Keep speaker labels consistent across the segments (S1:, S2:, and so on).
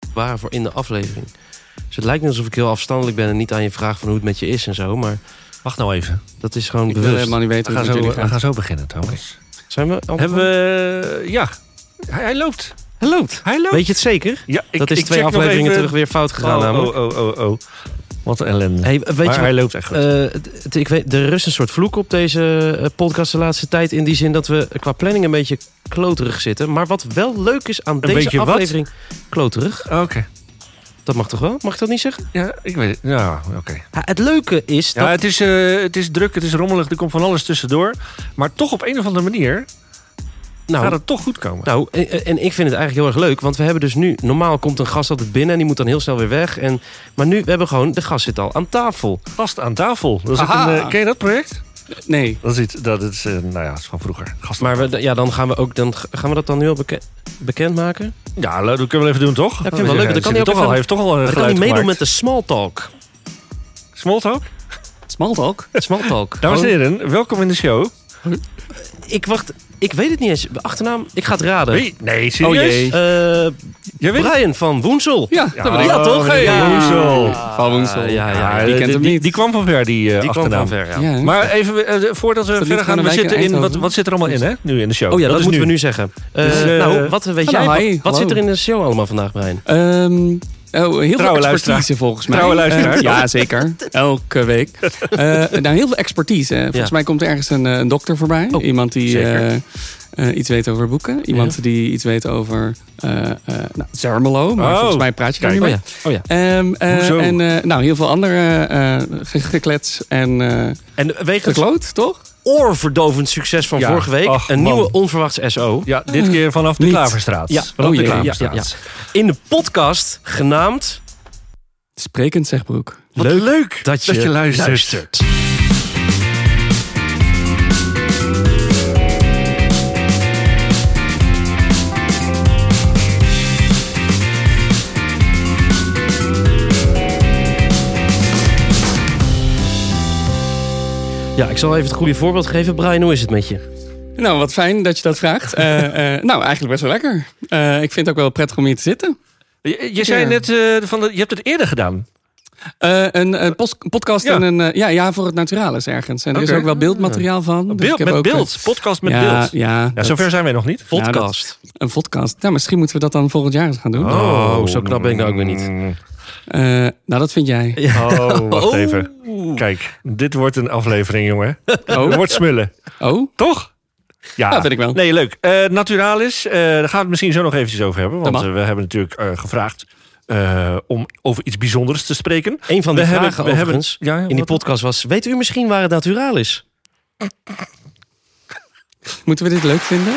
S1: zichtbaar voor in de aflevering. Dus het lijkt net alsof ik heel afstandelijk ben en niet aan je vraag van hoe het met je is en zo. Maar
S2: Wacht nou even.
S1: dat is gewoon
S3: Ik wil
S1: bewust.
S3: helemaal niet
S2: We
S3: weten
S2: gaan
S3: hoe het
S2: zo,
S3: met jullie
S2: we
S3: gaat.
S2: gaan zo beginnen trouwens.
S1: Zijn we? al
S2: Hebben we... Ja. Hij, hij loopt.
S1: Hij loopt.
S2: Hij loopt.
S1: Weet je het zeker?
S2: Ja, ik,
S1: dat is
S2: ik
S1: twee
S2: check nog
S1: afleveringen
S2: even.
S1: terug weer fout gegaan
S2: Oh,
S1: namelijk.
S2: oh, oh, oh, oh. Wat een ellende.
S1: Hey, weet
S2: maar
S1: je
S2: hij loopt echt goed.
S1: Eh, het- het- ik weet, er rust een soort vloek op deze eh, podcast de laatste tijd. In die zin dat we qua planning een beetje kloterig zitten. Maar wat wel leuk is aan
S2: beetje
S1: deze
S2: wat?
S1: aflevering... Kloterig,
S2: Eh, oh, Oké.
S1: dat mag toch wel? Mag ik dat niet zeggen?
S2: Ja, ik weet het. Ja, oké.
S1: Ja, het leuke is
S2: Ja,
S1: dat...
S2: het is, eh, het is druk, het is rommelig, er komt van alles tussendoor. Maar toch op een of andere manier gaat
S1: nou,
S2: het toch goed komen.
S1: nou, en, en ik vind het eigenlijk heel erg leuk. Want we hebben dus nu... Normaal komt een gast altijd binnen en die moet dan heel snel weer weg. En, maar nu we hebben gewoon... De gast zit al aan tafel.
S2: Gast aan tafel. Dat is ook
S3: Aha.
S2: een, eh, ken je dat project?
S3: Nee,
S2: Dat is, iets, dat is, eh, nou ja, dat is van vroeger. Gast aan
S1: Maar we, ja, dan gaan we, ook, dan g- gaan we dat dan nu al beken- bekendmaken?
S2: Ja, dat kunnen we wel even doen, toch?
S1: vind ik wel leuk,
S2: Ja,
S1: dan kan
S2: die zit
S1: hij
S2: er
S1: ook
S2: toch al,
S1: even-
S2: hij heeft toch al een
S1: Dan kan
S2: geluid
S1: niet meedoen met
S2: gemaakt.
S1: de small talk.
S2: Smalltalk?
S3: Smalltalk.
S1: Small talk.
S2: Dames en
S1: Gewoon-
S2: heren, welkom in de show.
S1: Ik wacht, ik weet het niet eens. De Achternaam, ik ga het raden.
S2: Wie? Nee,
S3: Oh
S2: serieus?
S3: jee.
S1: Eh,
S2: Jij weet het?
S1: Brian van Woensel.
S3: Ja, dat ben ik.
S1: Ja, toch?
S2: meneer
S1: Ja.
S2: Woensel.
S3: Van Woensel.
S1: Ah, ja, ja,
S3: Ja,
S2: Ja,
S3: die kent hem
S2: die,
S3: niet.
S2: die kwam van ver, die, eh
S1: Die kwam
S2: achternaam.
S1: van ver, ja.
S3: Ja.
S2: Maar even, eh, voordat we
S3: niet
S2: verder gaan,
S3: gewoon
S2: we
S3: een wijk
S2: zitten in,
S3: in
S2: wat,
S3: Eindhoven?
S2: wat zit er allemaal in, hè? Nu in de show.
S1: Oh ja, dat,
S2: is
S1: moeten we nu zeggen. Eh,
S2: Dus, eh,
S1: nou, wat weet
S3: hallo,
S1: jij? Wat,
S3: hi,
S1: wat
S3: hallo.
S1: zit er in de show allemaal vandaag, Brian?
S3: Ehm, oh, heel
S2: Trouwe
S3: veel
S2: luisteraar.
S3: expertise volgens mij.
S2: Trouwe luisteraar.
S3: Eh, ja, zeker. Elke week. Eh, nou, heel veel expertise. hè. Volgens
S1: Ja.
S3: mij komt er ergens een, eh, een dokter voorbij.
S1: Oh,
S3: Iemand die
S2: zeker.
S3: eh, eh, iets weet over boeken. Iemand
S1: Ja.
S3: die iets weet over eh eh, nou, Zermelo. Maar
S2: Oh.
S3: volgens mij praat je daar
S2: Kijk.
S3: niet
S1: Oh
S3: mee.
S1: ja, oh ja.
S3: Ehm, eh,
S2: Hoezo?
S3: en eh, nou, heel veel andere eh, ge- geklets en eh
S1: En wegens het
S3: gekloot, toch?
S1: oorverdovend succes van
S2: Ja,
S1: vorige week...
S2: ach,
S1: een
S2: man.
S1: nieuwe onverwachts SO...
S2: Ja, dit keer vanaf de
S3: Niet.
S2: Klaverstraat.
S1: Hmm. Ja.
S2: vanaf
S3: Oh
S2: de
S3: jee, ja,
S2: Klaverstraat.
S1: ja, in de podcast genaamd...
S3: Sprekend, zegt Broek.
S2: Wat leuk, dat, je luistert.
S1: Ja, ik zal even het goede voorbeeld geven. Brian, hoe is het met je?
S3: Nou, wat fijn dat je dat vraagt. Eh, eh, nou, eigenlijk best wel lekker. Eh, ik vind het ook wel prettig om hier te zitten.
S2: Je, je zei
S3: Ja.
S2: net, eh, van de, je hebt het eerder gedaan.
S1: Dus
S3: Eh, een eh, pos- podcast
S2: Ja.
S3: en een... eh, ja, ja, voor het naturalis ergens. En er
S2: Oké.
S3: is ook wel beeldmateriaal van. Dus ik
S2: Beeld,
S3: heb
S2: met
S3: ook, eh,
S2: beeld, podcast met
S3: ja,
S2: beeld. Ja,
S3: Ja, dat-
S2: zover zijn wij nog niet.
S3: dat-
S1: Podcast.
S3: een podcast. Nou, misschien moeten we dat dan volgend jaar eens gaan doen.
S1: Oh, zo knap ben ik nou ook weer niet.
S2: Mm.
S3: Eh, nou, dat vind jij.
S2: Oh, wacht
S1: Oh.
S2: even. Kijk, dit wordt een aflevering, jongen. Het
S3: Oh,
S2: wordt smullen,
S3: oh.
S2: toch? Ja,
S3: Ja, vind ik wel.
S2: Nee, leuk. Eh Naturalis, eh, daar gaan we het misschien zo nog eventjes over hebben. Want
S3: Dat mag.
S2: eh, we hebben natuurlijk eh, gevraagd eh, om over iets bijzonders te spreken.
S1: Een van
S2: we
S1: de vragen
S2: hebben, we
S1: overigens
S2: hebben, ja,
S1: in die
S2: wat?
S1: podcast was... Weet u misschien waar het naturaal is?
S3: Moeten we dit leuk vinden?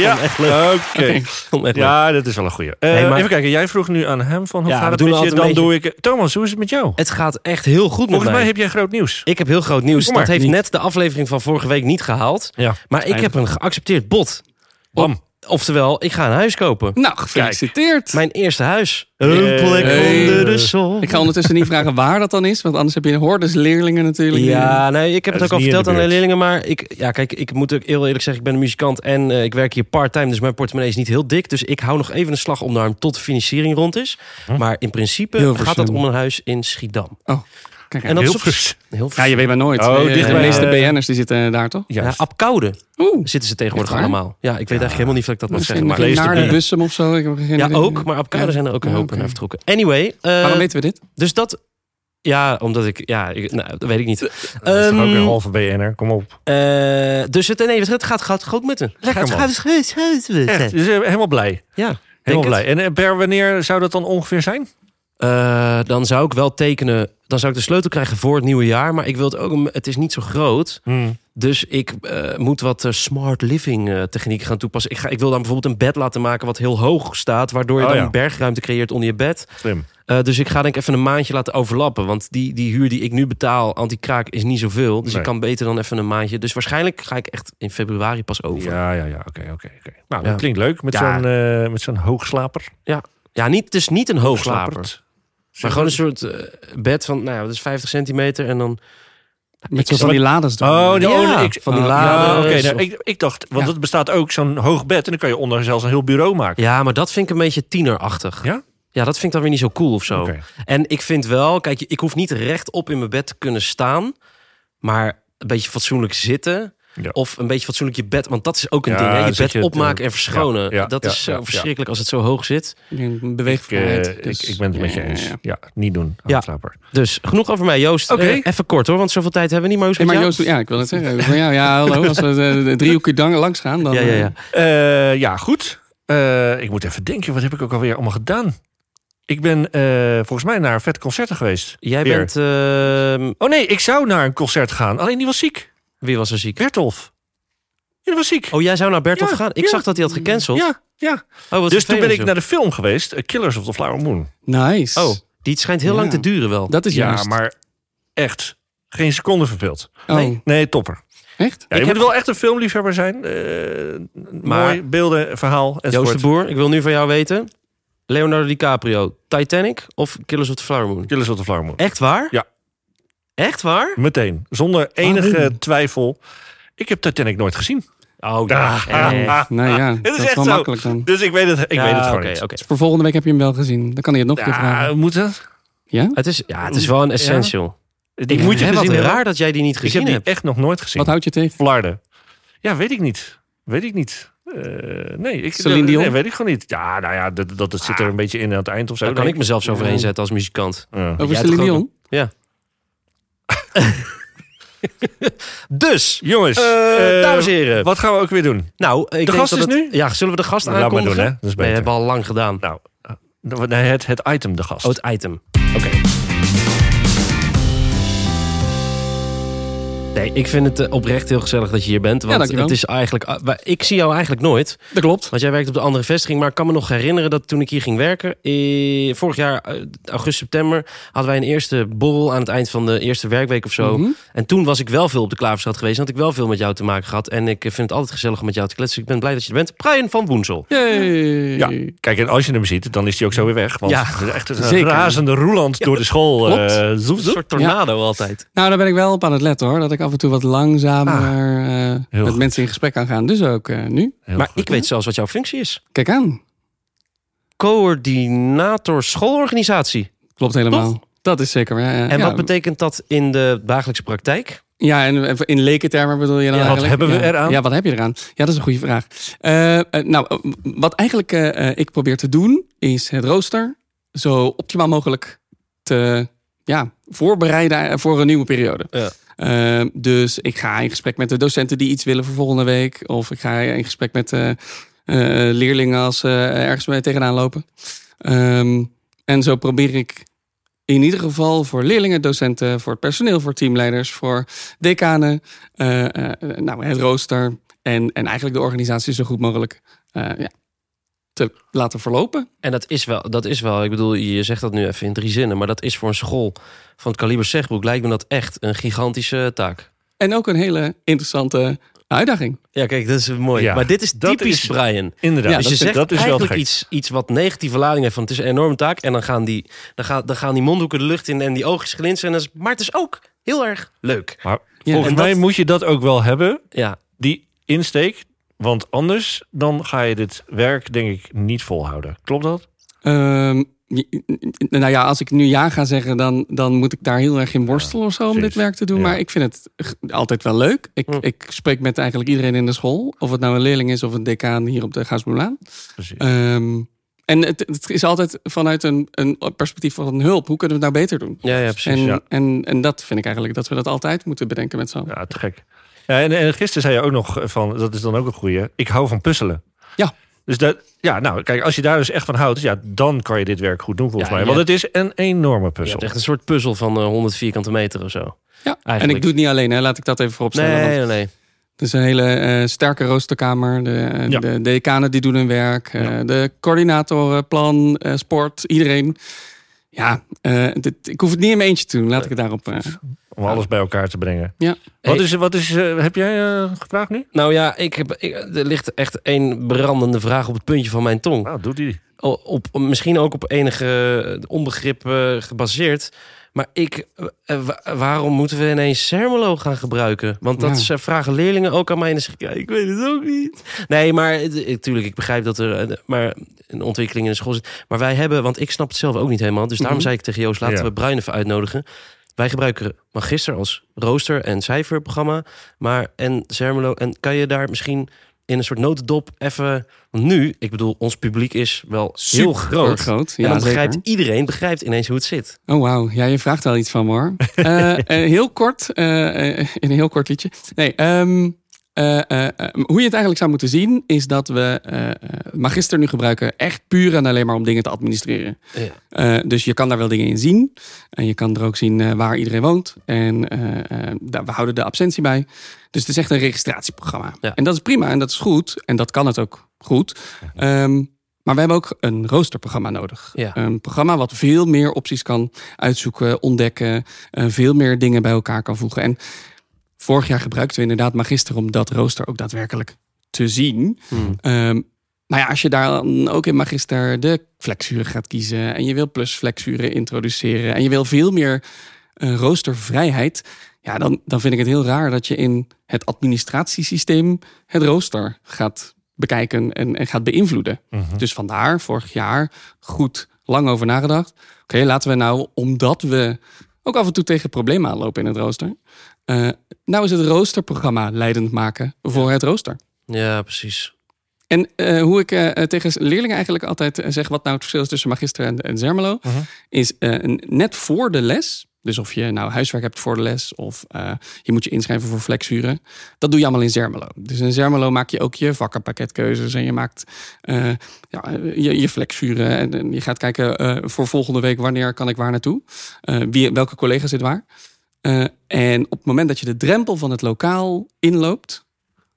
S2: Ja,
S1: Echt leuk.
S2: oké.
S1: Om echt leuk.
S2: Ja, dat is wel een goeie. Eh,
S1: Nee, maar-
S2: Even kijken, jij vroeg nu aan hem van hoe
S1: Ja,
S2: gaat
S1: we
S2: het
S1: doen
S2: met je?
S1: altijd
S2: Dan
S1: een
S2: doe ik... Thomas, hoe is het met jou?
S1: Het gaat echt heel goed met
S2: Volgens
S1: mij.
S2: mij heb jij groot nieuws.
S1: Ik heb heel groot nieuws.
S2: Kom maar.
S1: Dat heeft
S3: Niet.
S1: net de aflevering van vorige week niet gehaald.
S2: Ja.
S1: Maar ik heb een geaccepteerd bod.
S2: Bam.
S1: Oftewel, ik ga een huis kopen.
S3: Nou, gefeliciteerd.
S1: Mijn eerste huis.
S2: Hey.
S1: Een plek
S3: Hey.
S1: onder de zon.
S3: Ik ga ondertussen niet vragen waar dat dan is. Want anders heb je hordes leerlingen natuurlijk.
S1: Ja, nee, ik heb het
S2: Dat is
S1: ook al
S2: niet in de
S1: verteld aan de
S2: buurt.
S1: leerlingen. Maar ik, ja, kijk, ik moet ook heel eerlijk zeggen, ik ben een muzikant en eh, ik werk hier part-time. Dus mijn portemonnee is niet heel dik. Dus ik hou nog even een slag om de arm tot de financiering rond is. Maar in principe
S3: Hilversum.
S1: gaat dat om een huis in Schiedam.
S3: Kijk,
S1: En dat is op-
S2: Hilvers.
S1: heel
S3: ja, je weet maar nooit.
S2: Oh,
S3: Eh,
S2: dichtbij,
S3: de meeste
S2: eh,
S3: BN'ers die zitten daar toch?
S1: ja,
S2: Juist.
S1: Apkoude
S3: Oeh.
S1: zitten ze tegenwoordig
S3: Echt waar?
S1: allemaal. Ja, ik weet eigenlijk helemaal niet of ik dat mag zeggen.
S3: Misschien
S1: Maar
S2: lees het
S3: naar
S2: niet.
S3: de bussen of zo. Ik heb geen
S1: Ja,
S3: idee.
S1: ook. Maar op koude zijn er ook een
S3: Ja,
S1: hoop
S3: oké.
S1: naar vertrokken. Anyway, eh,
S3: Waarom weten we dit?
S1: dus dat... Ja, omdat ik... Ja, ik, nou, dat weet ik niet.
S2: Dat is toch ook
S1: Ehm,
S2: een halve BN'er, kom op.
S1: eh, dus het, nee, het gaat, gaat goed met hem.
S2: Lekker,
S1: Het
S2: man.
S1: gaat goed, goed met hem.
S2: Echt, dus eh, helemaal blij.
S1: Ja, denk
S2: Helemaal
S1: het.
S2: blij. En eh, per wanneer zou dat dan ongeveer zijn?
S1: Eh, dan zou ik wel tekenen... Dan zou ik de sleutel krijgen voor het nieuwe jaar. Maar ik wil het ook... een- Het is niet zo groot.
S2: Hmm.
S1: Dus ik eh, moet wat eh, smart living eh, technieken gaan toepassen. Ik, ga, ik wil dan bijvoorbeeld een bed laten maken wat heel hoog staat. Waardoor je
S2: Oh,
S1: dan
S2: ja.
S1: een bergruimte creëert onder je bed.
S2: Slim.
S1: Eh, dus ik ga denk ik even een maandje laten overlappen. Want die, die huur die ik nu betaal aan die kraak is niet zoveel. Dus
S2: Nee.
S1: ik kan beter dan even een maandje. Dus waarschijnlijk ga ik echt in februari pas over. Ja,
S2: Ja, ja, ja. Oké, oké, oké. Nou, dat
S1: Ja.
S2: klinkt leuk met
S1: Ja.
S2: zo'n eh, met zo'n hoogslaper.
S1: niet, het is niet een hoogslaper.
S2: Slapert.
S1: Maar gewoon een soort eh, bed van, nou ja, dat is 50 centimeter. En dan...
S3: Met zo van die laders door.
S2: Oh,
S1: Ja,
S2: die, oh, nee, ik,
S1: van die
S3: Ja,
S2: Ja,
S1: laders.
S2: oké. nou,
S1: of-
S2: ik, ik dacht, want
S3: Ja.
S2: dat bestaat ook zo'n hoog bed. En dan kan je onder zelfs een heel bureau maken.
S1: Ja, maar dat vind ik een beetje tienerachtig.
S2: Ja?
S1: Ja, dat vind ik dan weer niet zo cool of zo.
S2: Oké.
S1: En ik vind wel, kijk, ik hoef niet rechtop in mijn bed te kunnen staan. Maar een beetje fatsoenlijk zitten.
S2: Ja.
S1: Of een beetje fatsoenlijk je bed. Want dat is ook een
S2: Ja,
S1: ding. Hè? Je
S2: zit
S1: bed
S2: je te-
S1: opmaken en verschonen.
S2: Ja, ja,
S1: dat
S2: ja,
S1: is zo
S2: ja, ja.
S1: verschrikkelijk als het zo hoog zit.
S3: Ik denk
S2: Ik, eh,
S3: Beweegvrijheid.
S2: ik, ik ben het met je eens. Ja, niet doen.
S1: Ja.
S2: Hardslaper.
S1: Dus genoeg over mij, Joost.
S2: Oké.
S1: Eh, even kort hoor, want zoveel tijd hebben we niet. Maar hoe is
S3: Hey,
S1: het
S3: maar
S1: met
S3: Joost, ja, ik wil het zeggen. Van jou, ja, hallo. Als we de, de driehoekje dan langs gaan, dan...
S1: jou? Ja, ja, ja.
S3: eh,
S2: Eh, ja, goed. Eh, ik moet even denken, wat heb ik ook alweer allemaal gedaan? Ik ben eh, volgens mij naar vet concerten geweest.
S1: Jij
S2: Weer.
S1: bent... ehm,
S2: Oh nee, ik zou naar een concert gaan. Alleen die was ziek.
S1: wie was er ziek?
S2: Bertolf. Ja, die was ziek.
S1: Oh, jij zou naar Bertolf
S2: Ja,
S1: gaan? Ik
S2: ja.
S1: zag dat hij had gecanceld.
S2: ja, ja.
S1: Oh, wat
S2: Dus toen ben
S1: vervelend,
S2: ik naar de film geweest. eh, Killers of the Flower Moon.
S3: Nice.
S1: joh. Oh, die schijnt heel
S3: Ja.
S1: lang te duren wel.
S3: dat is
S2: Ja,
S3: juist.
S2: maar echt. Geen seconde verveeld.
S3: Oh,
S1: nee.
S2: Nee, topper.
S3: echt?
S2: Ja, je moet wel echt een filmliefhebber zijn. Eh,
S1: Maar-
S2: Mooi, beelden, verhaal,
S1: Joost de
S2: enzovoort.
S1: Boer, ik wil nu van jou weten. Leonardo DiCaprio, Titanic of Killers of the Flower Moon?
S2: Killers of the Flower Moon.
S1: Echt waar?
S2: Ja.
S1: Echt waar?
S2: Meteen, zonder enige twijfel. Ik heb Titanic nooit gezien.
S1: Oh,
S2: Ah,
S1: echt.
S2: ah, ah.
S3: Nou ja,
S2: is
S3: dat is
S2: echt
S3: wel
S2: zo.
S3: makkelijk dan.
S2: Dus ik weet het, ik
S1: Ja,
S2: weet het gewoon
S1: oké,
S2: niet.
S1: oké.
S3: Voor volgende week heb je hem wel gezien. Dan kan hij het nog een keer
S2: Ja,
S3: vragen.
S2: moet het?
S3: Ja?
S1: Het is, ja, het is wel een essential.
S2: Die
S1: Ik
S2: moet je
S1: hè,
S2: gezien
S1: wat
S2: hebben.
S1: raar dat jij die niet
S2: Ik heb
S1: gezien
S2: die
S1: hebt.
S2: echt nog nooit gezien.
S3: Wat houdt je tegen?
S2: Flarden. Ja, weet ik niet. Weet ik niet. Eh, nee, ik,
S3: Celine Dion?
S2: nee, weet ik gewoon niet. Ja, nou ja, dat, dat, dat zit er een beetje in aan het eind of zo.
S1: Daar Ah. kan
S2: denk
S1: ik Oh. mezelf zo
S3: Ja.
S1: overheen zetten als muzikant.
S2: Ja.
S3: Over
S1: Jij
S3: Celine
S1: toch ook
S3: Dion?
S1: Ja. dus,
S2: Jongens,
S1: eh,
S2: eh,
S1: dames en heren.
S2: wat gaan we ook weer doen?
S1: Nou, ik de denk
S2: gast
S1: dat
S2: is
S1: het-
S2: nu?
S1: Ja, zullen we de gast
S2: Nou, laat maar
S1: aankondigen?
S2: doen, hè? Dat
S1: Nee,
S2: is beter.
S1: hebben we al lang gedaan.
S2: Nou, eh, nee, het, het item, de gast.
S1: Oh, het item.
S2: Oké.
S1: Nee, ik vind het eh, oprecht heel gezellig dat je hier bent. Want
S3: dankjewel.
S1: het is eigenlijk. ah, wij- ik zie jou eigenlijk nooit.
S3: Dat klopt.
S1: Want jij werkt op de andere vestiging. Maar ik kan me nog herinneren dat toen ik hier ging werken. eh, vorig jaar, eh, augustus, september. hadden wij een eerste borrel aan het eind van de eerste werkweek of zo.
S3: Mhm.
S1: En toen was ik wel veel op de Klaverstad geweest. En had ik wel veel met jou te maken gehad. En ik eh, vind het altijd gezellig om met jou te kletsen. Dus ik ben blij dat je er bent. Brian van Woensel.
S3: Yay.
S2: Ja, kijk, en als je hem ziet, dan is hij ook zo weer weg. Want
S1: Ja,
S2: het is echt een
S3: zeker.
S2: razende roeland door de school.
S1: klopt.
S2: eh, zoep,
S1: Een
S2: zoep.
S1: soort tornado altijd.
S3: Nou, daar ben ik wel op aan het letten hoor. Dat ik af en toe wat langzamer
S1: Ah,
S3: eh, met
S2: goed.
S3: mensen in gesprek kan gaan. Dus ook eh, nu.
S2: Heel
S1: maar
S2: goed.
S1: ik weet zelfs wat jouw functie is.
S3: Kijk aan.
S1: Coördinator schoolorganisatie.
S3: Klopt helemaal. Dat is zeker. waar, ja, ja.
S1: En
S3: ja,
S1: wat betekent dat in de dagelijkse praktijk?
S3: Ja, en even in lekentermen bedoel je dan
S2: Ja, wat
S3: eigenlijk?
S2: hebben we
S3: ja.
S2: eraan?
S3: Ja, wat heb je eraan? Ja, dat is een goede vraag. Eh, eh, nou, eh, wat eigenlijk eh, eh, ik probeer te doen, is het rooster zo optimaal mogelijk te ja, voorbereiden eh, voor een nieuwe periode.
S1: Ja.
S3: Eh, dus ik ga in gesprek met de docenten die iets willen voor volgende week. Of ik ga in gesprek met eh, eh, leerlingen als ze ergens mee tegenaan lopen. Ehm, en zo probeer ik in ieder geval voor leerlingen, docenten, voor het personeel, voor teamleiders, voor decanen, eh, eh, nou, het rooster en, en eigenlijk de organisatie zo goed mogelijk eh, ja, te laten verlopen.
S1: En dat is, wel, dat is wel, ik bedoel, je zegt dat nu even in drie zinnen, maar dat is voor een school van het kaliber Zegbroek lijkt me dat echt een gigantische taak.
S3: En ook een hele interessante uitdaging.
S1: Ja, kijk, dat is mooi.
S2: Ja,
S1: maar dit is
S2: dat
S1: typisch
S2: is-
S1: Brian.
S2: Inderdaad,
S3: Ja,
S1: dus
S2: dat,
S1: je zegt
S2: dat is wel te
S1: eigenlijk
S2: gek.
S1: iets, iets wat negatieve lading heeft van het is een enorme taak. En dan gaan die, dan gaan, dan gaan die mondhoeken de lucht in en die oogjes glinsteren. En dat is, maar het is ook heel erg leuk.
S2: Maar
S3: Ja,
S2: volgens
S1: en
S2: mij
S1: dat-
S2: moet je dat ook wel hebben,
S1: Ja,
S2: die insteek. Want anders dan ga je dit werk, denk ik, niet volhouden. Klopt dat?
S3: Ehm, j- n- nou ja, als ik nu ja ga zeggen, dan, dan moet ik daar heel erg in worstelen of zo om
S2: precies.
S3: dit werk te doen.
S2: Ja.
S3: Maar ik vind het g- altijd wel leuk. Ik,
S1: Hm.
S3: ik spreek met eigenlijk iedereen in de school. Of het nou een leerling is of een decaan hier op de Gaasbloemlaan.
S2: Precies.
S1: Eh.
S3: Ehm, en het, het is altijd vanuit een, een perspectief van hulp. Hoe kunnen we het nou beter doen?
S1: ja, ja precies.
S3: en,
S2: ja.
S3: en, en dat vind ik eigenlijk dat we dat altijd moeten bedenken met z'n allen.
S2: Ja, te gek. Ja, en, en gisteren zei je ook nog van, dat is dan ook een goeie. Ik hou van puzzelen.
S3: Ja.
S2: Dus dat, ja, nou, kijk, als je daar dus echt van houdt, ja, dan kan je dit werk goed doen volgens
S1: Ja,
S2: mij.
S1: je
S2: Want het is een enorme
S1: Je hebt
S2: puzzel.
S1: echt een soort puzzel van eh, 100 vierkante meter of zo.
S3: Ja, en
S1: Eigenlijk.
S3: ik doe het niet alleen, hè. laat ik dat even vooropstellen.
S1: Nee,
S3: want
S1: nee, nee.
S3: Het is een hele eh, sterke roosterkamer. De, eh,
S2: Ja.
S3: de decanen die doen hun werk. eh, de coördinatoren, plan, eh, sport, iedereen. Ja, eh, dit, ik hoef het niet in mijn eentje te doen. Laat ik het daarop... eh,
S2: Om alles bij elkaar te brengen.
S3: ja.
S2: Wat
S1: Hey.
S2: is, wat is eh, heb jij eh, gevraagd nu?
S1: Nou ja, ik heb, ik- er ligt echt één brandende vraag op het puntje van mijn tong.
S2: Nou, doet hij.
S1: o- op, misschien ook op enige onbegrip eh, gebaseerd. Maar ik, eh, wa- waarom moeten we ineens Sermelo gaan gebruiken? Want dat
S3: Ja.
S1: ze vragen leerlingen ook aan mij. En dan zeg ik, ja, ik weet het ook niet. Nee, maar natuurlijk, ik begrijp dat er eh, de- maar een ontwikkeling in de school zit. Maar wij hebben, want ik snap het zelf ook niet helemaal. Dus daarom
S3: Mhm.
S1: zei ik tegen Joost, laten
S2: Ja.
S1: we Bruin even uitnodigen. Wij gebruiken Magister als rooster- en cijferprogramma. Maar en Sermelo, en kan je daar misschien in een soort notendop even... Want nu, ik bedoel, ons publiek is wel heel groot.
S3: groot.
S1: En
S3: Ja,
S1: dan
S3: zeker.
S1: begrijpt iedereen begrijpt ineens hoe het zit.
S3: Oh, wauw. Ja, je vraagt wel iets van me hoor. Eh, eh, heel kort, eh, eh, in een heel kort liedje. Nee, ehm, eh, eh, eh, hoe je het eigenlijk zou moeten zien, is dat we eh, eh, Magister nu gebruiken echt puur en alleen maar om dingen te administreren.
S1: Ja.
S3: Eh, dus je kan daar wel dingen in zien. En je kan er ook zien eh, waar iedereen woont. En eh, eh, daar- we houden de absentie bij. Dus het is echt een registratieprogramma.
S1: Ja.
S3: En dat is prima en dat is goed. En dat kan het ook goed. Ehm, maar we hebben ook een roosterprogramma nodig.
S1: Ja.
S3: Een programma wat veel meer opties kan uitzoeken, ontdekken. eh, veel meer dingen bij elkaar kan voegen. En vorig jaar gebruikten we inderdaad Magister om dat rooster ook daadwerkelijk te zien.
S1: Hmm.
S3: Ehm, nou ja, als je daar dan ook in Magister de flexuren gaat kiezen... en je wil plus flexuren introduceren... en je wil veel meer eh, roostervrijheid... ja, dan, dan vind ik het heel raar dat je in het administratiesysteem... het rooster gaat bekijken en, en gaat beïnvloeden. Dus vandaar vorig jaar goed lang over nagedacht. Oké, laten we nou, omdat we ook af en toe tegen problemen aanlopen in het rooster. eh, nou is het roosterprogramma leidend maken voor het rooster.
S1: Ja, precies.
S3: En eh, hoe ik eh, eh, tegen leerlingen eigenlijk altijd eh, zeg wat nou het verschil is tussen magister en, en Zermelo,
S2: Mhm.
S3: is eh, een- net voor de les. Dus of je nou huiswerk hebt voor de les of eh, je moet je inschrijven voor flexuren. Dat doe je allemaal in Zermelo. Dus in Zermelo maak je ook je vakkenpakketkeuzes en je maakt eh, ja, je, je flexuren. En, en je gaat kijken eh, voor volgende week wanneer kan ik waar naartoe. Eh, wie, welke collega zit waar. Eh, en op het moment dat je de drempel van het lokaal inloopt,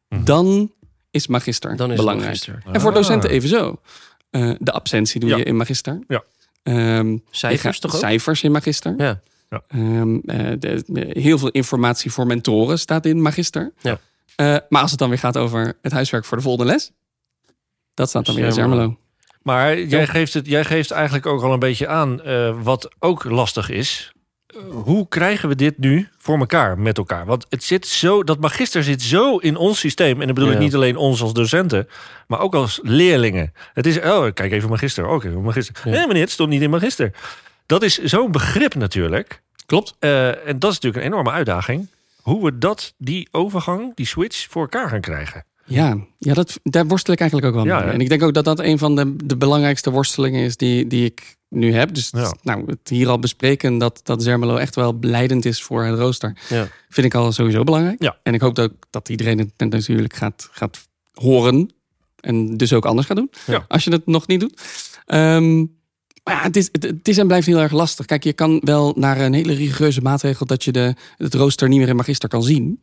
S2: Mhm.
S3: dan is magister
S1: Dan is het
S3: belangrijk.
S1: magister.
S3: En voor docenten evenzo. Eh, de absentie doe
S2: Ah. Ja.
S3: je in magister.
S2: Ja.
S3: Ehm, je
S1: Cijfers
S3: gaat-
S1: toch ook?
S3: Cijfers in magister.
S1: Ja.
S2: Ja.
S3: Ehm, eh, de- de- heel veel informatie voor mentoren staat in magister.
S1: Ja.
S3: Eh, maar als het dan weer gaat over het huiswerk voor de volgende les. Dat staat dan weer in
S1: Zermelo.
S3: Zermelo.
S2: Maar jij geeft, het, jij geeft eigenlijk ook al een beetje aan eh, wat ook lastig is. Eh, Hoe krijgen we dit nu voor elkaar met elkaar? Want het zit zo, dat magister zit zo in ons systeem. En dan bedoel
S1: Ja.
S2: ik niet alleen ons als docenten, maar ook als leerlingen. Het is, oh, kijk even magister. Ook even magister.
S1: Ja.
S2: Nee meneer, het stond niet in magister. Dat is zo'n begrip natuurlijk.
S3: Klopt.
S2: Eh, en dat is natuurlijk een enorme uitdaging. Hoe we dat, die overgang, die switch voor elkaar gaan krijgen.
S3: Ja, ja dat, daar worstel ik eigenlijk ook wel
S2: Ja,
S3: mee.
S2: hè?
S3: En ik denk ook dat dat een van de, de belangrijkste worstelingen is die, die ik nu heb. Dus
S2: Ja.
S3: nou, het hier al bespreken dat, dat Zermelo echt wel leidend is voor het rooster.
S1: Ja.
S3: Vind ik al sowieso belangrijk.
S2: Ja.
S3: En ik hoop dat, dat iedereen het net natuurlijk gaat, gaat horen. En dus ook anders gaat doen.
S2: Ja.
S3: Als je het nog niet doet. Ehm, maar ja, het, is, het, het is en blijft heel erg lastig. Kijk, je kan wel naar een hele rigoureuze maatregel dat je de, het rooster niet meer in magister kan zien.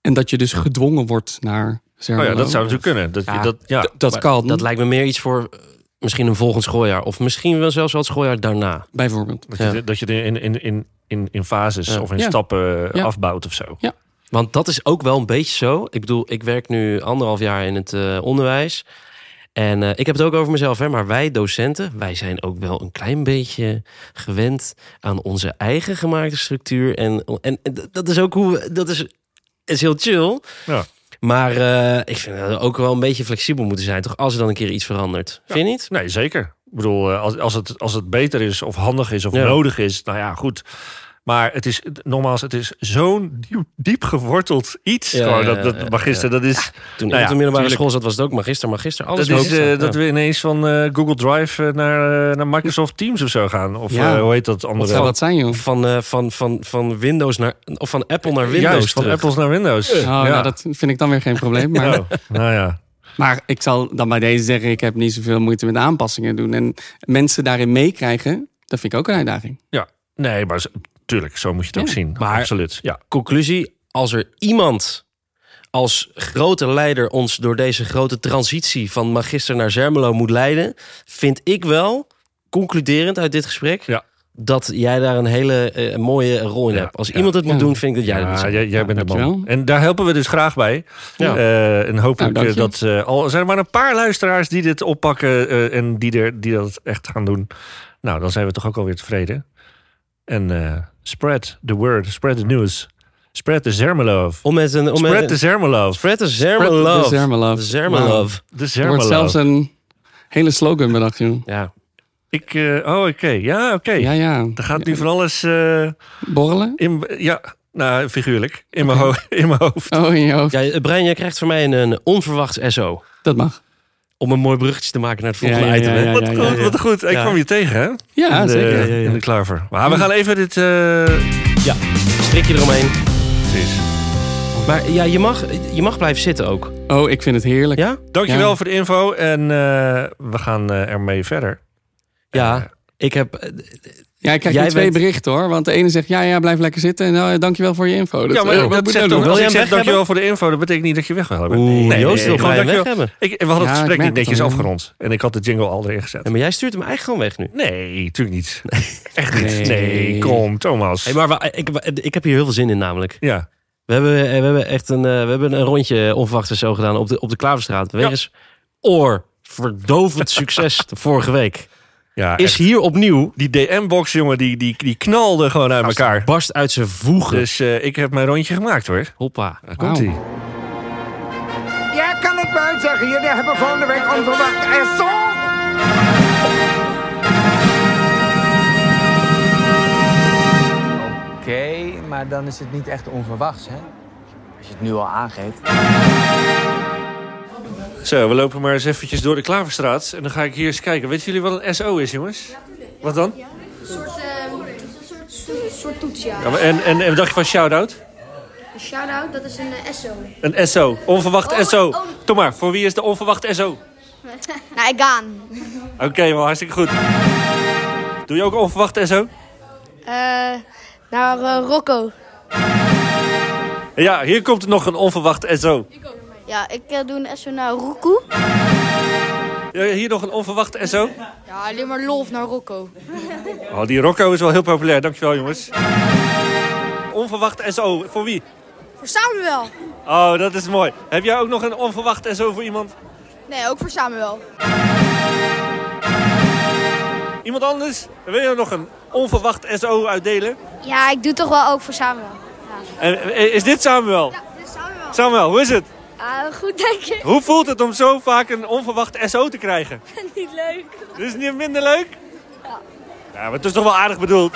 S3: En dat je dus gedwongen wordt naar
S2: Oh
S3: Zermelo.
S2: ja, dat zou natuurlijk kunnen. Dat,
S1: nou, Ja.
S2: dat, ja.
S3: D- dat
S1: Maar
S3: kan,
S1: Dat lijkt me meer iets voor eh, misschien een volgend schooljaar. Of misschien wel zelfs wel het schooljaar daarna.
S3: bijvoorbeeld.
S2: Dat je,
S1: Ja.
S2: de- dat je de in, in, in, in, in fases
S1: Ja.
S2: of in
S3: Ja.
S2: stappen eh,
S3: Ja.
S2: afbouwt of zo.
S1: Want dat is ook wel een beetje zo. Ik bedoel, ik werk nu anderhalf jaar in het eh, onderwijs. En eh, ik heb het ook over mezelf, hè, maar wij docenten, wij zijn ook wel een klein beetje gewend aan onze eigen gemaakte structuur. En, en, en d- dat is ook hoe, we- dat is, is heel chill.
S2: Ja.
S1: Maar eh, ik vind dat we ook wel een beetje flexibel moeten zijn, toch? Als er dan een keer iets verandert. Vind je niet?
S2: Nee, zeker. Ik bedoel, eh, als, als, het, als het beter is of handig is of
S1: Ja.
S2: nodig is, nou ja, goed. Maar het is, nogmaals, het is zo'n diep, diep geworteld iets.
S1: Ja,
S2: gewoon,
S1: ja,
S2: dat, dat,
S1: ja, ja.
S2: magister, dat is,
S1: Toen
S2: Nou
S1: ik
S2: ja,
S1: op de middelbare
S2: tuurlijk.
S1: school zat, was het ook magister, magister. Alles
S2: dat, is
S1: magister.
S2: eh,
S1: Ja.
S2: dat we ineens van eh, Google Drive eh, naar, eh, naar Microsoft Teams of zo gaan. Of
S3: Ja.
S2: eh, hoe heet dat andere?
S3: Wat zou dat zijn, joh?
S1: van, eh, van, van, van Windows naar, of van Apple naar Windows
S2: Juist, van
S1: terug.
S2: Apples naar Windows.
S3: Oh, nou, dat vind ik dan weer geen probleem. Maar,
S2: Oh, nou ja.
S3: maar ik zal dan bij deze zeggen, ik heb niet zoveel moeite met aanpassingen doen. En mensen daarin meekrijgen, dat vind ik ook een uitdaging.
S2: Nee, maar zo- tuurlijk, zo moet je het ook
S3: Ja.
S2: zien.
S1: Maar-
S2: Absoluut, ja.
S1: conclusie, als er iemand als grote leider ons door deze grote transitie van Magister naar Zermelo moet leiden, vind ik wel, concluderend uit dit gesprek,
S2: Ja.
S1: dat jij daar een hele eh, mooie rol in
S2: Ja,
S1: hebt. Als
S2: ja.
S1: iemand het moet
S3: Ja.
S1: doen, vind ik dat jij dat moet
S2: Ja,
S1: doen.
S2: jij, jij
S3: Ja,
S2: bent de man.
S3: dankjewel.
S2: En daar helpen we dus graag bij.
S1: Ja.
S2: Eh, en hopelijk
S3: Nou,
S2: eh,
S3: dank
S2: dat... eh, al zijn er maar een paar luisteraars die dit oppakken... eh, en die, er, die dat echt gaan doen. Nou, dan zijn we toch ook alweer tevreden. En eh, spread the word. Spread the news. Spread the Zermeloof.
S1: Om met een... Om eh, met
S2: Spread
S1: een-
S2: the Zermeloof.
S1: Spread the
S3: Spread the
S1: Zermelove.
S3: Zermeloof.
S1: Zermelove.
S2: De
S3: Er wordt zelfs
S2: Zermeloof.
S3: een hele slogan bedacht, joh.
S1: Ja.
S2: Ik, eh, oh, oké. Ja, oké.
S3: Ja, ja.
S2: Er gaat nu van alles eh,
S3: Borrelen?
S2: in... Ja, nou, figuurlijk. In mijn ho- in mijn hoofd.
S3: Oh, in je hoofd.
S1: ja. eh, Brian, jij krijgt van mij een, een onverwachts SO.
S3: Dat mag.
S1: Om een mooi bruggetje te maken naar het
S3: Ja,
S1: volgende
S3: ja, ja,
S1: item. hè?
S3: ja,
S2: Wat
S3: ja,
S2: goed,
S1: ja.
S2: wat goed. Ik
S1: Ja.
S2: kwam je tegen, hè?
S3: Ja,
S2: in de,
S3: zeker.
S1: ja, ja.
S2: In de klaver. Maar we gaan even dit... eh,
S1: Strik je eromheen.
S2: precies.
S1: Maar ja, je mag, je mag blijven zitten ook.
S3: Oh, ik vind het heerlijk.
S1: Ja?
S2: Dankjewel
S3: Ja.
S2: voor de info. En eh, we gaan eh, ermee verder.
S1: Ja. Ik heb... eh,
S3: Ja, ik krijg
S1: Jij
S3: nu twee
S1: bent-
S3: berichten hoor. Want de ene zegt, ja, ja, blijf lekker zitten. En nou, eh, dankjewel voor je info.
S2: ja, maar
S3: eh,
S2: dat,
S3: wat moet ik
S2: zegt
S3: nou
S2: ook...
S1: Wil
S2: Als
S1: jij hem
S2: ik zeg
S1: weg
S2: dankjewel voor de info, dat betekent niet dat je weg wil hebben.
S1: Oeh, Joost wil
S2: gewoon
S1: Brian weg
S2: dankjewel.
S1: hebben.
S2: Ik, we hadden
S3: Ja,
S2: het gesprek
S3: ik
S2: niet
S3: merk
S2: netjes
S3: het al, ja.
S2: afgerond. En ik had de jingle al erin gezet.
S1: Ja, maar jij stuurt hem eigenlijk gewoon weg nu.
S2: Nee, tuurlijk niet. Echt niet.
S3: Nee.
S2: Nee, kom, Thomas.
S1: Hey, maar wa- ik, ik heb hier heel veel zin in namelijk.
S2: Ja,
S1: We hebben, we hebben echt een, eh, we hebben een rondje onverwachts en zo gedaan op de, op de Klaverstraat. Wegens oorverdovend succes de vorige week.
S2: ja
S1: Is
S2: echt.
S1: hier opniw,
S2: Die DM-box, jongen, die, die, die knalde gewoon uit elkaar.
S1: barst uit zijn voegen.
S2: Dus eh, ik heb mijn rondje gemaakt, hoor.
S1: Hoppa.
S2: Daar
S3: Wauw.
S2: komt-ie.
S4: Ja, kan ik wel zeggen. Jullie hebben volgende week onverwacht SO.
S5: Oké, maar dan is het niet echt onverwachts, hè? Als je het nu al aangeeft.
S2: Zo, we lopen maar eens eventjes door de Klaverstraat. En dan ga ik hier eens kijken. Weten jullie wat een SO is, jongens? Wat dan?
S6: Een soort, ehm, een soort, soort, soort toets, ja.
S2: Ja, maar en, en, en wat dacht je van shout-out?
S6: Een shout-out, dat is een eh, SO.
S2: Een SO. Onverwacht
S6: Oh,
S2: SO.
S6: oh.
S2: Kom maar, voor wie is de onverwachte SO?
S6: Nou, ik gaan.
S2: Oké, wel hartstikke goed. Doe je ook onverwachte SO?
S6: naar Eh, nou, Rocco.
S2: Ja, hier komt nog een onverwachte SO.
S6: Ja, ik doe een SO naar Roekoe.
S2: Ja, hier nog een onverwachte SO.
S6: Ja, alleen maar Lolf naar Rocco.
S2: Oh, die Rocco is wel heel populair. Dankjewel, jongens. Onverwacht SO. Voor wie?
S6: Voor Samuel.
S2: Oh, dat is mooi. Heb jij ook nog een onverwacht SO voor iemand?
S6: Nee, ook voor Samuel.
S2: Iemand anders? Wil je nog een onverwacht SO uitdelen?
S6: Ja, ik doe toch wel ook voor Samuel.
S2: En, eh, is dit Samuel?
S6: Samuel. Ah,
S2: Samuel, hoe is het?
S6: goed, denk ik.
S2: Hoe voelt het om zo vaak een onverwacht SO te krijgen?
S6: Niet leuk.
S2: Dit is niet minder leuk? Ja. maar het is toch wel aardig bedoeld.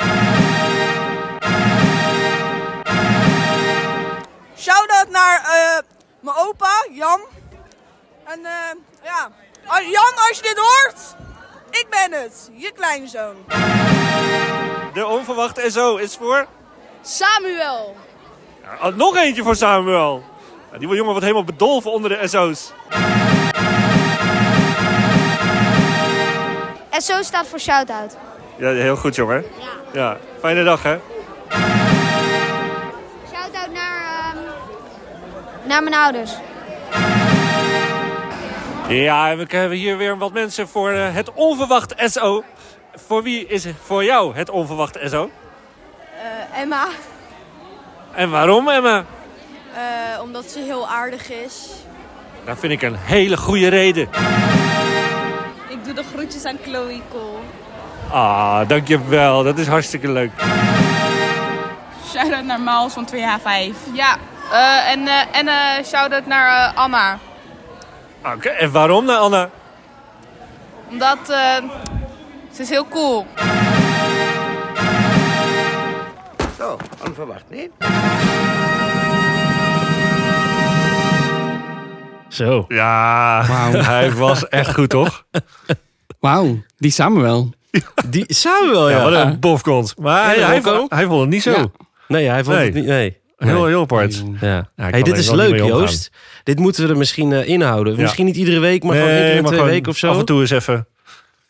S7: Shout-out naar eh, mijn opa, Jan. En eh, ja, Ah, Jan, als je dit hoort, ik ben het, je kleinzoon.
S2: De onverwacht SO is voor...
S6: Samuel.
S2: Ja, oh, nog eentje voor Samuel. Ja, die jongen wordt helemaal bedolven onder de SO's.
S6: SO staat voor shout-out.
S2: Ja, heel goed jongen.
S6: Ja.
S2: Ja, fijne dag hè.
S6: Shout-out naar, ehm, naar mijn ouders.
S2: Ja, en we hebben hier weer wat mensen voor eh, het onverwacht SO. Voor wie is voor jou het onverwacht SO?
S7: Emma,
S2: En waarom, Emma?
S7: Eh, omdat ze heel aardig is.
S2: Dat vind ik een hele goede reden.
S7: Ik doe de groetjes aan Chloe Cole.
S2: Ah, dankjewel. Dat is hartstikke leuk.
S7: Shout-out naar Maals van 2H5.
S8: Ja, eh, en, eh, en eh shout-out naar eh, Anna.
S2: Oké, en waarom nou, Anna?
S8: Omdat eh, ze is heel cool.
S4: Zo, Oh, onverwacht, nee?
S1: Zo.
S2: Ja, hij was echt goed, toch?
S3: Wauw, die Samuel.
S1: Die Samuel, ja.
S2: Ja, wat een bofkont. Maar hij,
S1: Ja,
S2: hij,
S1: Rocco.
S2: vond- hij vond het niet zo.
S3: Ja.
S1: Nee, hij vond
S2: Nee.
S1: het niet... Nee.
S2: Heel, heel apart.
S1: Ja.
S2: Ja, ik
S1: hey,
S2: kan
S1: dit
S2: er
S1: is
S2: wel niet
S1: leuk,
S2: mee omgaan.
S1: Joost. Dit moeten we er misschien eh, inhouden.
S2: Ja.
S1: Misschien niet iedere week, maar gewoon
S2: Nee,
S1: één keer in
S2: maar
S1: twee
S2: gewoon
S1: weken of zo.
S2: Af en toe eens even.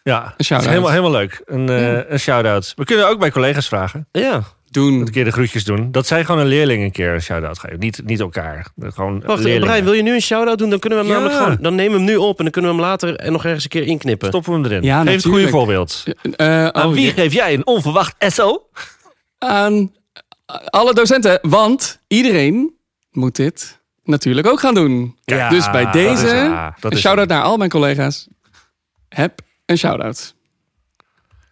S2: Ja,
S3: Een shout-out.
S2: helemaal, helemaal leuk. Een, eh, een shout-out. We kunnen ook bij collega's vragen.
S1: Ja.
S3: doen.
S2: Een keer de groetjes doen. Dat zij gewoon een leerling een keer een shout-out geven. Niet, niet elkaar. Gewoon
S1: Wacht, eh,
S2: leerlingen.
S1: Brian, wil je nu een shout-out doen? Dan kunnen we hem
S2: Ja.
S1: namelijk gewoon... Dan nemen we hem nu op en dan kunnen we hem later eh, nog ergens een keer inknippen.
S2: Stoppen we hem erin.
S3: Ja,
S2: Geef het goede
S3: natuurlijk.
S2: voorbeeld.
S3: Eh, oh,
S2: Aan wie
S3: ja.
S2: geef jij een onverwacht SO?
S3: Aan alle docenten, want iedereen moet dit natuurlijk ook gaan doen.
S2: Ja,
S3: dus bij
S2: dat
S3: deze,
S2: is- ja, dat
S3: een
S2: is-
S3: shout-out naar al mijn collega's. Heb een shout-out.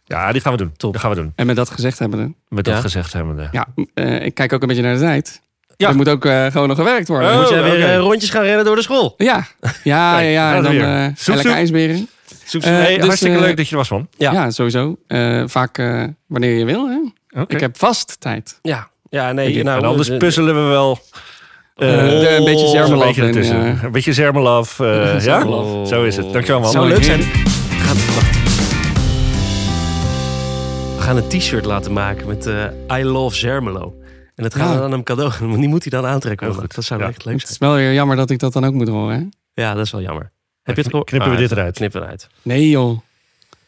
S2: Ja, die gaan we doen. Dat gaan we doen.
S3: En met dat gezegd hebbende,
S2: Met dat
S1: Ja.
S2: gezegd hebbende.
S3: ja, eh, ik kijk ook een beetje naar de tijd.
S2: Ja.
S3: Er moet ook eh, gewoon nog gewerkt worden.
S2: Oh.
S1: Moet jij weer
S2: oké.
S1: eh, rondjes gaan rennen door de school?
S3: Ja, ja, ja, ja.
S2: gaan
S3: En
S2: we
S3: dan
S2: weer.
S3: eh
S2: Zoep,
S3: lekker
S2: zoep.
S3: ijsberen.
S2: Zoek-
S3: Eh,
S2: hey,
S3: dus,
S2: hartstikke
S3: eh,
S2: leuk dat je er was, man.
S1: Ja.
S3: Ja, sowieso. Eh, vaak eh, wanneer je wil. Hè?
S2: Oké.
S3: Ik heb vast tijd.
S1: Ja. Ja, nee.
S2: En
S1: nou,
S2: anders
S1: eh,
S2: puzzelen we wel.
S3: Eh,
S2: eh,
S3: er een beetje
S2: een
S3: Zermelaf
S2: beetje
S3: in,
S2: ertussen.
S3: eh.
S2: Een beetje Zermelaf. eh, ja,
S1: Zermelaf.
S2: zo is het. Dankjewel, man.
S1: zou
S3: Mooi.
S1: leuk zijn. Gaat, wacht. We gaan een t-shirt laten maken met eh, I love Zermelo. En dat gaan we
S3: Ja.
S1: dan hem cadeau geven. Die moet hij dan aantrekken.
S2: Heel
S1: ook.
S2: goed.
S1: Dat zou
S2: Ja.
S1: echt leuk
S3: Het is
S1: zijn.
S3: wel weer jammer dat ik dat dan ook moet horen. Hè?
S1: Ja, dat is wel jammer. Heb je het gehoord? Ah,
S2: knippen we dit eruit.
S1: Knippen eruit.
S3: Nee joh.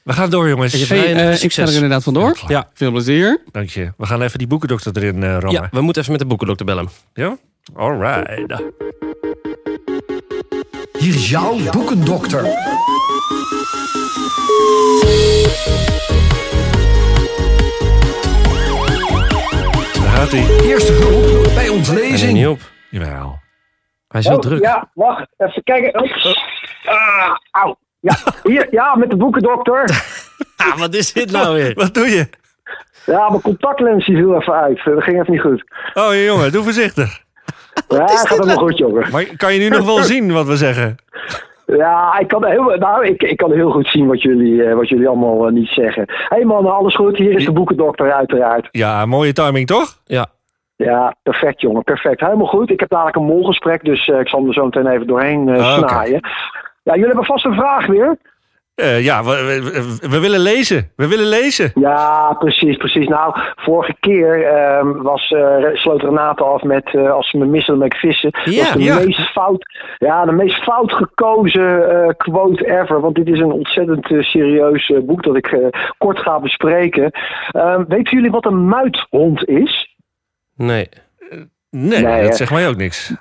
S2: We gaan door, jongens.
S1: Hey,
S3: Hey,
S1: Brian,
S3: eh, ik sta
S1: succes.
S3: er inderdaad vandoor.
S1: Ja.
S3: Veel plezier.
S2: Dank je. We gaan even die boekendokter erin eh rammen.
S1: Ja, we moeten even met de boekendokter bellen.
S2: Ja? All right.
S9: Hier is jouw boekendokter.
S2: Daar gaat hij.
S9: Eerste hulp bij ontlezing.
S1: Niet op.
S2: Jawel.
S1: Hij is heel
S2: Oh,
S1: druk.
S10: Oh, Ja, wacht. Even kijken. Oh. Ah, auw. Ja, hier, ja, met de boekendokter.
S1: Ah, wat is dit nou weer?
S2: Wat doe je?
S10: Ja, mijn contactlens die viel even uit. Dat ging even niet goed.
S2: Oh, jongen, doe voorzichtig.
S10: Ja, gaat allemaal goed, jongen.
S2: Maar kan je nu nog wel zien wat we zeggen?
S10: Ja, ik kan heel, nou, ik, ik kan heel goed zien wat jullie, eh, wat jullie allemaal eh, niet zeggen. Hé hey man, alles goed? Hier is de boekendokter, uiteraard.
S2: Ja, mooie timing, toch?
S1: Ja.
S10: Ja, perfect, jongen. Perfect. Helemaal goed. Ik heb dadelijk een molgesprek, dus eh, ik zal hem er zo meteen even doorheen eh,
S2: Ah, oké.
S10: snaaien. Ja, jullie hebben vast een vraag weer.
S2: Eh, ja, we, we- we- we willen lezen. We willen lezen.
S10: Ja, precies, precies. Nou, vorige keer ehm, was, eh, sloot Renate af met eh, als ze me missen, dan ben ik vissen.
S1: Ja,
S10: dat is de
S2: ja.
S10: meest fout, ja, de meest fout gekozen eh, quote ever. Want dit is een ontzettend eh, serieus eh, boek dat ik eh, kort ga bespreken. Ehm, weten jullie wat een muithond is?
S1: Nee.
S2: Nee,
S10: Nee,
S2: dat
S10: hè.
S2: zegt mij ook niks.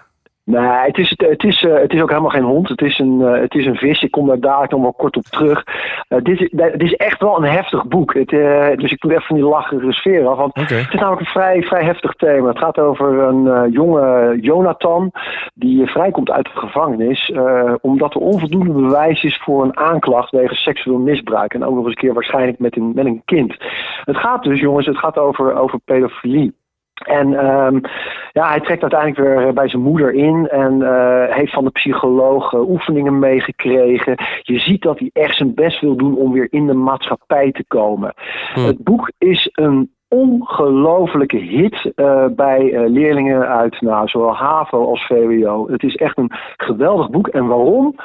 S10: Nee, het is, het, is, eh, het is ook helemaal geen hond. Het is een, eh, het is een vis. Ik kom daar dadelijk nog wel kort op terug. Eh, dit, is- dit is echt wel een heftig boek. Het, eh, dus ik moet even van die lachere sfeer af. Want
S2: Oké.
S10: Het is namelijk een vrij, vrij heftig thema. Het gaat over een eh, jonge Jonathan die vrijkomt uit de gevangenis eh, omdat er onvoldoende bewijs is voor een aanklacht wegens seksueel misbruik. En ook nog eens een keer waarschijnlijk met een, met een kind. Het gaat dus, jongens, het gaat over, over pedofilie. En ehm, ja, hij trekt uiteindelijk weer eh, bij zijn moeder in en eh, heeft van de psycholoog eh, oefeningen meegekregen. Je ziet dat hij echt zijn best wil doen om weer in de maatschappij te komen.
S1: Hmm.
S10: Het boek is een ongelofelijke hit eh, bij eh, leerlingen uit nou, zowel HAVO als VWO. Het is echt een geweldig boek. En waarom?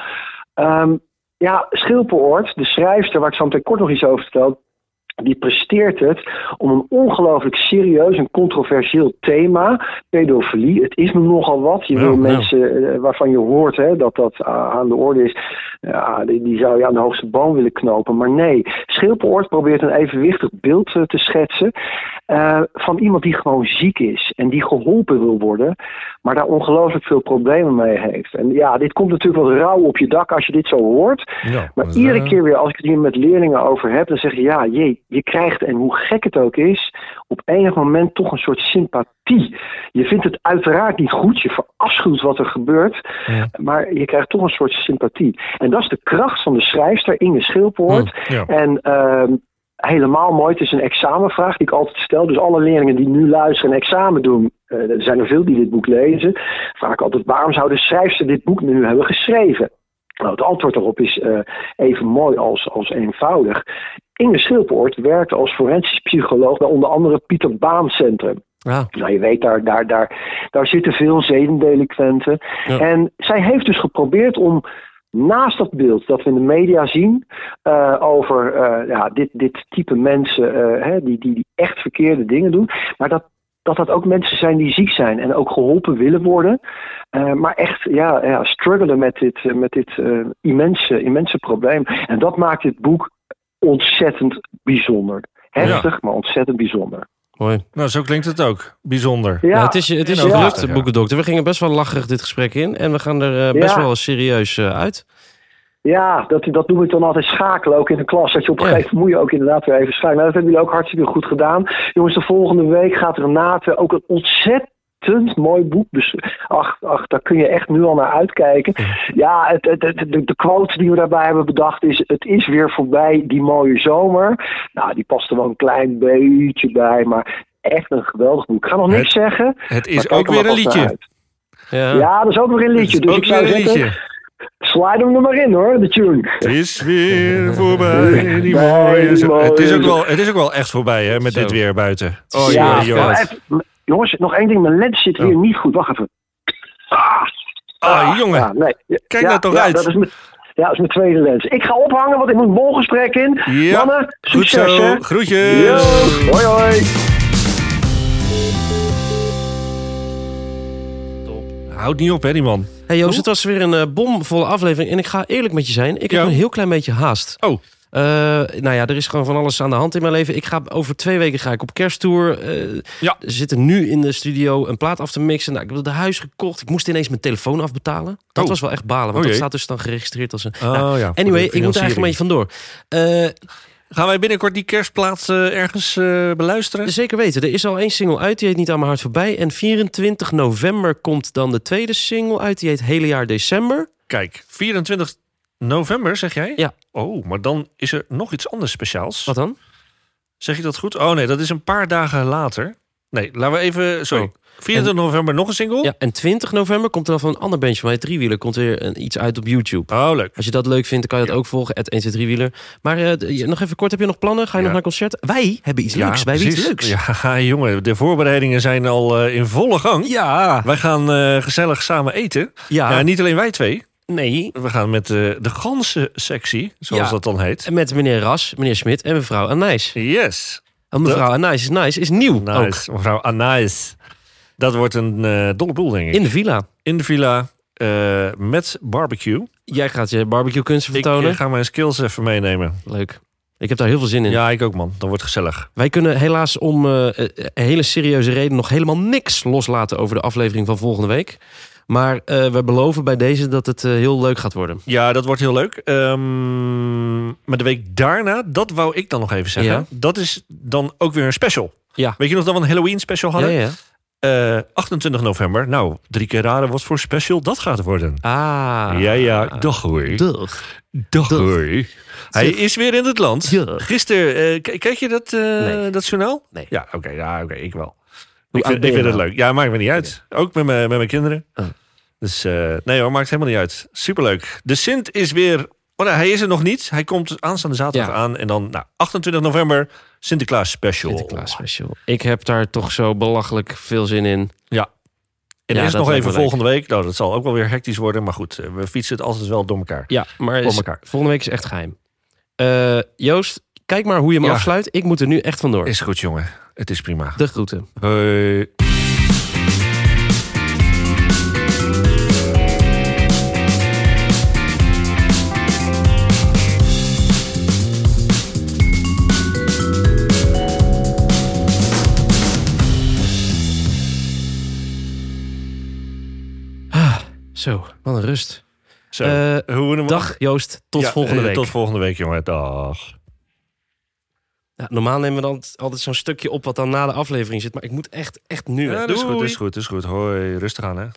S10: Ehm, ja, Schilperoort, de schrijfster waar ik zo meteen kort nog iets over vertel, die presteert het om een ongelooflijk serieus en controversieel thema, pedofilie, het is me nogal wat. Je
S1: Ja,
S10: wil
S1: nou.
S10: mensen eh, waarvan je hoort hè, dat dat ah, aan de orde is, ja, die, die zou je aan de hoogste boom willen knopen. Maar nee, Schilperoort probeert een evenwichtig beeld eh, te schetsen eh, van iemand die gewoon ziek is en die geholpen wil worden, maar daar ongelooflijk veel problemen mee heeft. En ja, dit komt natuurlijk wat rauw op je dak als je dit zo hoort.
S2: Ja,
S10: Maar
S2: dat is,
S10: iedere
S2: eh,
S10: keer weer als ik het hier met leerlingen over heb, dan zeg je ja, jee, je krijgt, en hoe gek het ook is, op enig moment toch een soort sympathie. Je vindt het uiteraard niet goed, je verafschuwt wat er gebeurt,
S2: Ja.
S10: maar je krijgt toch een soort sympathie. En dat is de kracht van de schrijfster Inge Schilpoort.
S2: Hmm, Ja.
S10: En ehm, helemaal mooi, het is een examenvraag die ik altijd stel. Dus alle leerlingen die nu luisteren en examen doen, eh, er zijn er veel die dit boek lezen, vraag ik altijd waarom zou de schrijfster dit boek nu hebben geschreven? Nou, het antwoord daarop is eh, even mooi als, als eenvoudig. Inge Schilpoort werkte als forensisch psycholoog bij onder andere Pieter Baan Centrum.
S1: Ja.
S10: Nou, je weet, daar, daar, daar, daar zitten veel zedendelinquenten.
S1: Ja.
S10: En zij heeft dus geprobeerd om naast dat beeld dat we in de media zien eh, over eh, ja, dit, dit type mensen eh, hè, die, die, die echt verkeerde dingen doen, maar dat dat dat ook mensen zijn die ziek zijn en ook geholpen willen worden, eh, maar echt ja, ja, struggelen met dit, eh, met dit eh, immense, immense probleem. En dat maakt dit boek ontzettend bijzonder. Heftig, maar ontzettend bijzonder.
S1: Mooi.
S2: Nou, zo klinkt het ook. Bijzonder.
S1: Ja, nou, het is, het is ja. gelukt, ja. boekendokter. We gingen best wel lacherig dit gesprek in. En we gaan er uh, best ja. wel serieus uh, uit.
S10: Ja, dat, dat noem ik dan altijd schakelen, ook in de klas. Dat je op een gegeven moment moet je ook inderdaad weer even schakelen. Nou, dat hebben jullie ook hartstikke goed gedaan. Jongens, de volgende week gaat Renate ook een ontzettend mooi boek. Dus ach, ach, daar kun je echt nu al naar uitkijken. Ja, het, het, het, de, de, quote die we daarbij hebben bedacht is: Het is weer voorbij die mooie zomer. Nou, die past er wel een klein beetje bij, maar echt een geweldig boek. Ik ga nog niks zeggen.
S2: Het is ook weer een liedje.
S10: Ja. ja. dat is ook weer een liedje. Dus
S2: ook
S10: ik zou
S2: weer een
S10: zeggen,
S2: liedje.
S10: Slide hem er maar in hoor, de tune.
S2: Het is weer voorbij, die mooie zomer. Het is ook wel, het is ook wel echt voorbij hè, met Zo. dit weer buiten.
S10: Oh ja, ja Jongens, nog één ding. Mijn lens zit weer oh. niet goed. Wacht even.
S2: Ah, ah, ah jongen. Ah, nee. Kijk
S10: ja,
S2: nou toch
S10: ja,
S2: uit.
S10: Dat is mijn, ja, dat is mijn tweede lens. Ik ga ophangen, want ik moet een bolgesprek in.
S2: Ja.
S10: Mannen, succes.
S2: Goed zo. Groetjes. Yo.
S10: Hoi, hoi.
S2: Top. Houd niet op, hè, die man.
S1: hey, Joost, het was weer een uh, bomvolle aflevering. En ik ga eerlijk met je zijn. Ik ja. heb een heel klein beetje haast.
S2: Oh.
S1: Uh, nou ja, er is gewoon van alles aan de hand in mijn leven. Ik ga, over twee weken ga ik op kersttour. Uh,
S2: ja.
S1: We zitten nu in de studio een plaat af te mixen. Nou, ik heb het huis gekocht. Ik moest ineens mijn telefoon afbetalen. Dat oh. was wel echt balen, want oh, dat staat dus dan geregistreerd als een...
S2: Oh, nou, ja,
S1: anyway, ik moet er eigenlijk een beetje vandoor. Uh,
S2: Gaan wij binnenkort die kerstplaat ergens eh, beluisteren?
S1: Eh, Zeker weten. Er is al één single uit, die heet Niet aan mijn hart voorbij. En 24 november komt dan de tweede single uit, die heet Hele jaar december.
S2: Kijk, 24 November, zeg jij?
S1: Ja.
S2: Oh, maar dan is er nog iets anders speciaals.
S1: Wat dan?
S2: Zeg je dat goed? Oh nee, dat is een paar dagen later. Nee, laten we even... Sorry. Oh. 24 en, november nog een single.
S1: Ja, en 20 november komt er dan van een ander bandje van mij. Driewieler komt weer een, iets uit op YouTube.
S2: Oh, leuk.
S1: Als je dat leuk vindt, dan kan je dat ja. ook volgen. Het 1 Driewieler. Maar uh, nog even kort, heb je nog plannen? Ga je ja. nog naar concert? Wij hebben iets ja, leuks. Wij hebben iets leuks.
S2: Ja, jongen. De voorbereidingen zijn al uh, in volle gang.
S1: Ja.
S2: Wij gaan uh, gezellig samen eten.
S1: Ja.
S2: niet alleen wij twee.
S1: Nee.
S2: We gaan met eh, de, de ganse sectie, zoals ja, dat dan heet.
S1: Met meneer Ras, meneer Smit en mevrouw Anijs.
S2: Yes.
S1: En mevrouw Anijs is nice, is nieuw nice.
S2: ook. Mevrouw Anijs. Dat wordt een uh, dolle boel, denk ik.
S1: In de villa.
S2: In de villa, uh, met barbecue.
S1: Jij gaat je barbecue kunsten vertonen.
S2: Ik uh, ga mijn skills even meenemen.
S1: Leuk. Ik heb daar heel veel zin in.
S2: Ja, ik ook, man. Dat wordt gezellig.
S1: Wij kunnen helaas om eh, hele serieuze reden nog helemaal niks loslaten over de aflevering van volgende week. Maar uh, we beloven bij deze dat het uh, heel leuk gaat worden.
S2: Ja, dat wordt heel leuk. Um, maar de week daarna, dat wou ik dan nog even zeggen. Ja. Dat is dan ook weer een special.
S1: Ja.
S2: Weet je nog dat we een Halloween special hadden?
S1: Ja,
S2: ja. Uh, 28 november. Nou, drie keer raden wat voor special dat gaat worden.
S1: Ah.
S2: Ja, ja. Dag hoor.
S1: Dag.
S2: Dag, Dag. hoor. Hij is weer in het land.
S1: Ja.
S2: Gisteren, eh, kijk je dat,
S1: nee.
S2: dat journaal?
S1: Nee.
S2: Ja, oké. Okay, ja, oké. Okay, ik wel. Ik vind, ik vind, het leuk. Ja, maakt me niet uit. Okay. Ook met, me, met mijn kinderen. Oh. Dus uh, nee hoor, maakt helemaal niet uit. Superleuk. De Sint is weer... Oh, nou, hij is er nog niet. Hij komt aanstaande zaterdag ja. aan. En dan nou, 28 november, Sinterklaas special.
S1: Sinterklaas special. Ik heb daar toch zo belachelijk veel zin in.
S2: Ja. En ja, is nog even volgende leuk. week. Nou, dat zal ook wel weer hectisch worden. Maar goed, eh, we fietsen het altijd wel door elkaar.
S1: Ja, maar
S2: door elkaar.
S1: Is, volgende week is echt geheim. Uh, Joost, kijk maar hoe je hem ja. afsluit. Ik moet er nu echt vandoor.
S2: Is goed, jongen. Het is prima.
S1: De groeten.
S2: Hoi.
S1: Ah, zo, wat een rust. Eh,
S2: Zo, uh, hoe we hem...
S1: Dag Joost, tot
S2: ja, eh,
S1: volgende week.
S2: Tot volgende week, jongen. Dag.
S1: Ja, normaal nemen we dan altijd zo'n stukje op wat dan na de aflevering zit. Maar ik moet echt, echt nu.
S2: Ja, dat is goed, dat is goed, dat is goed. Hoi, rustig aan hè.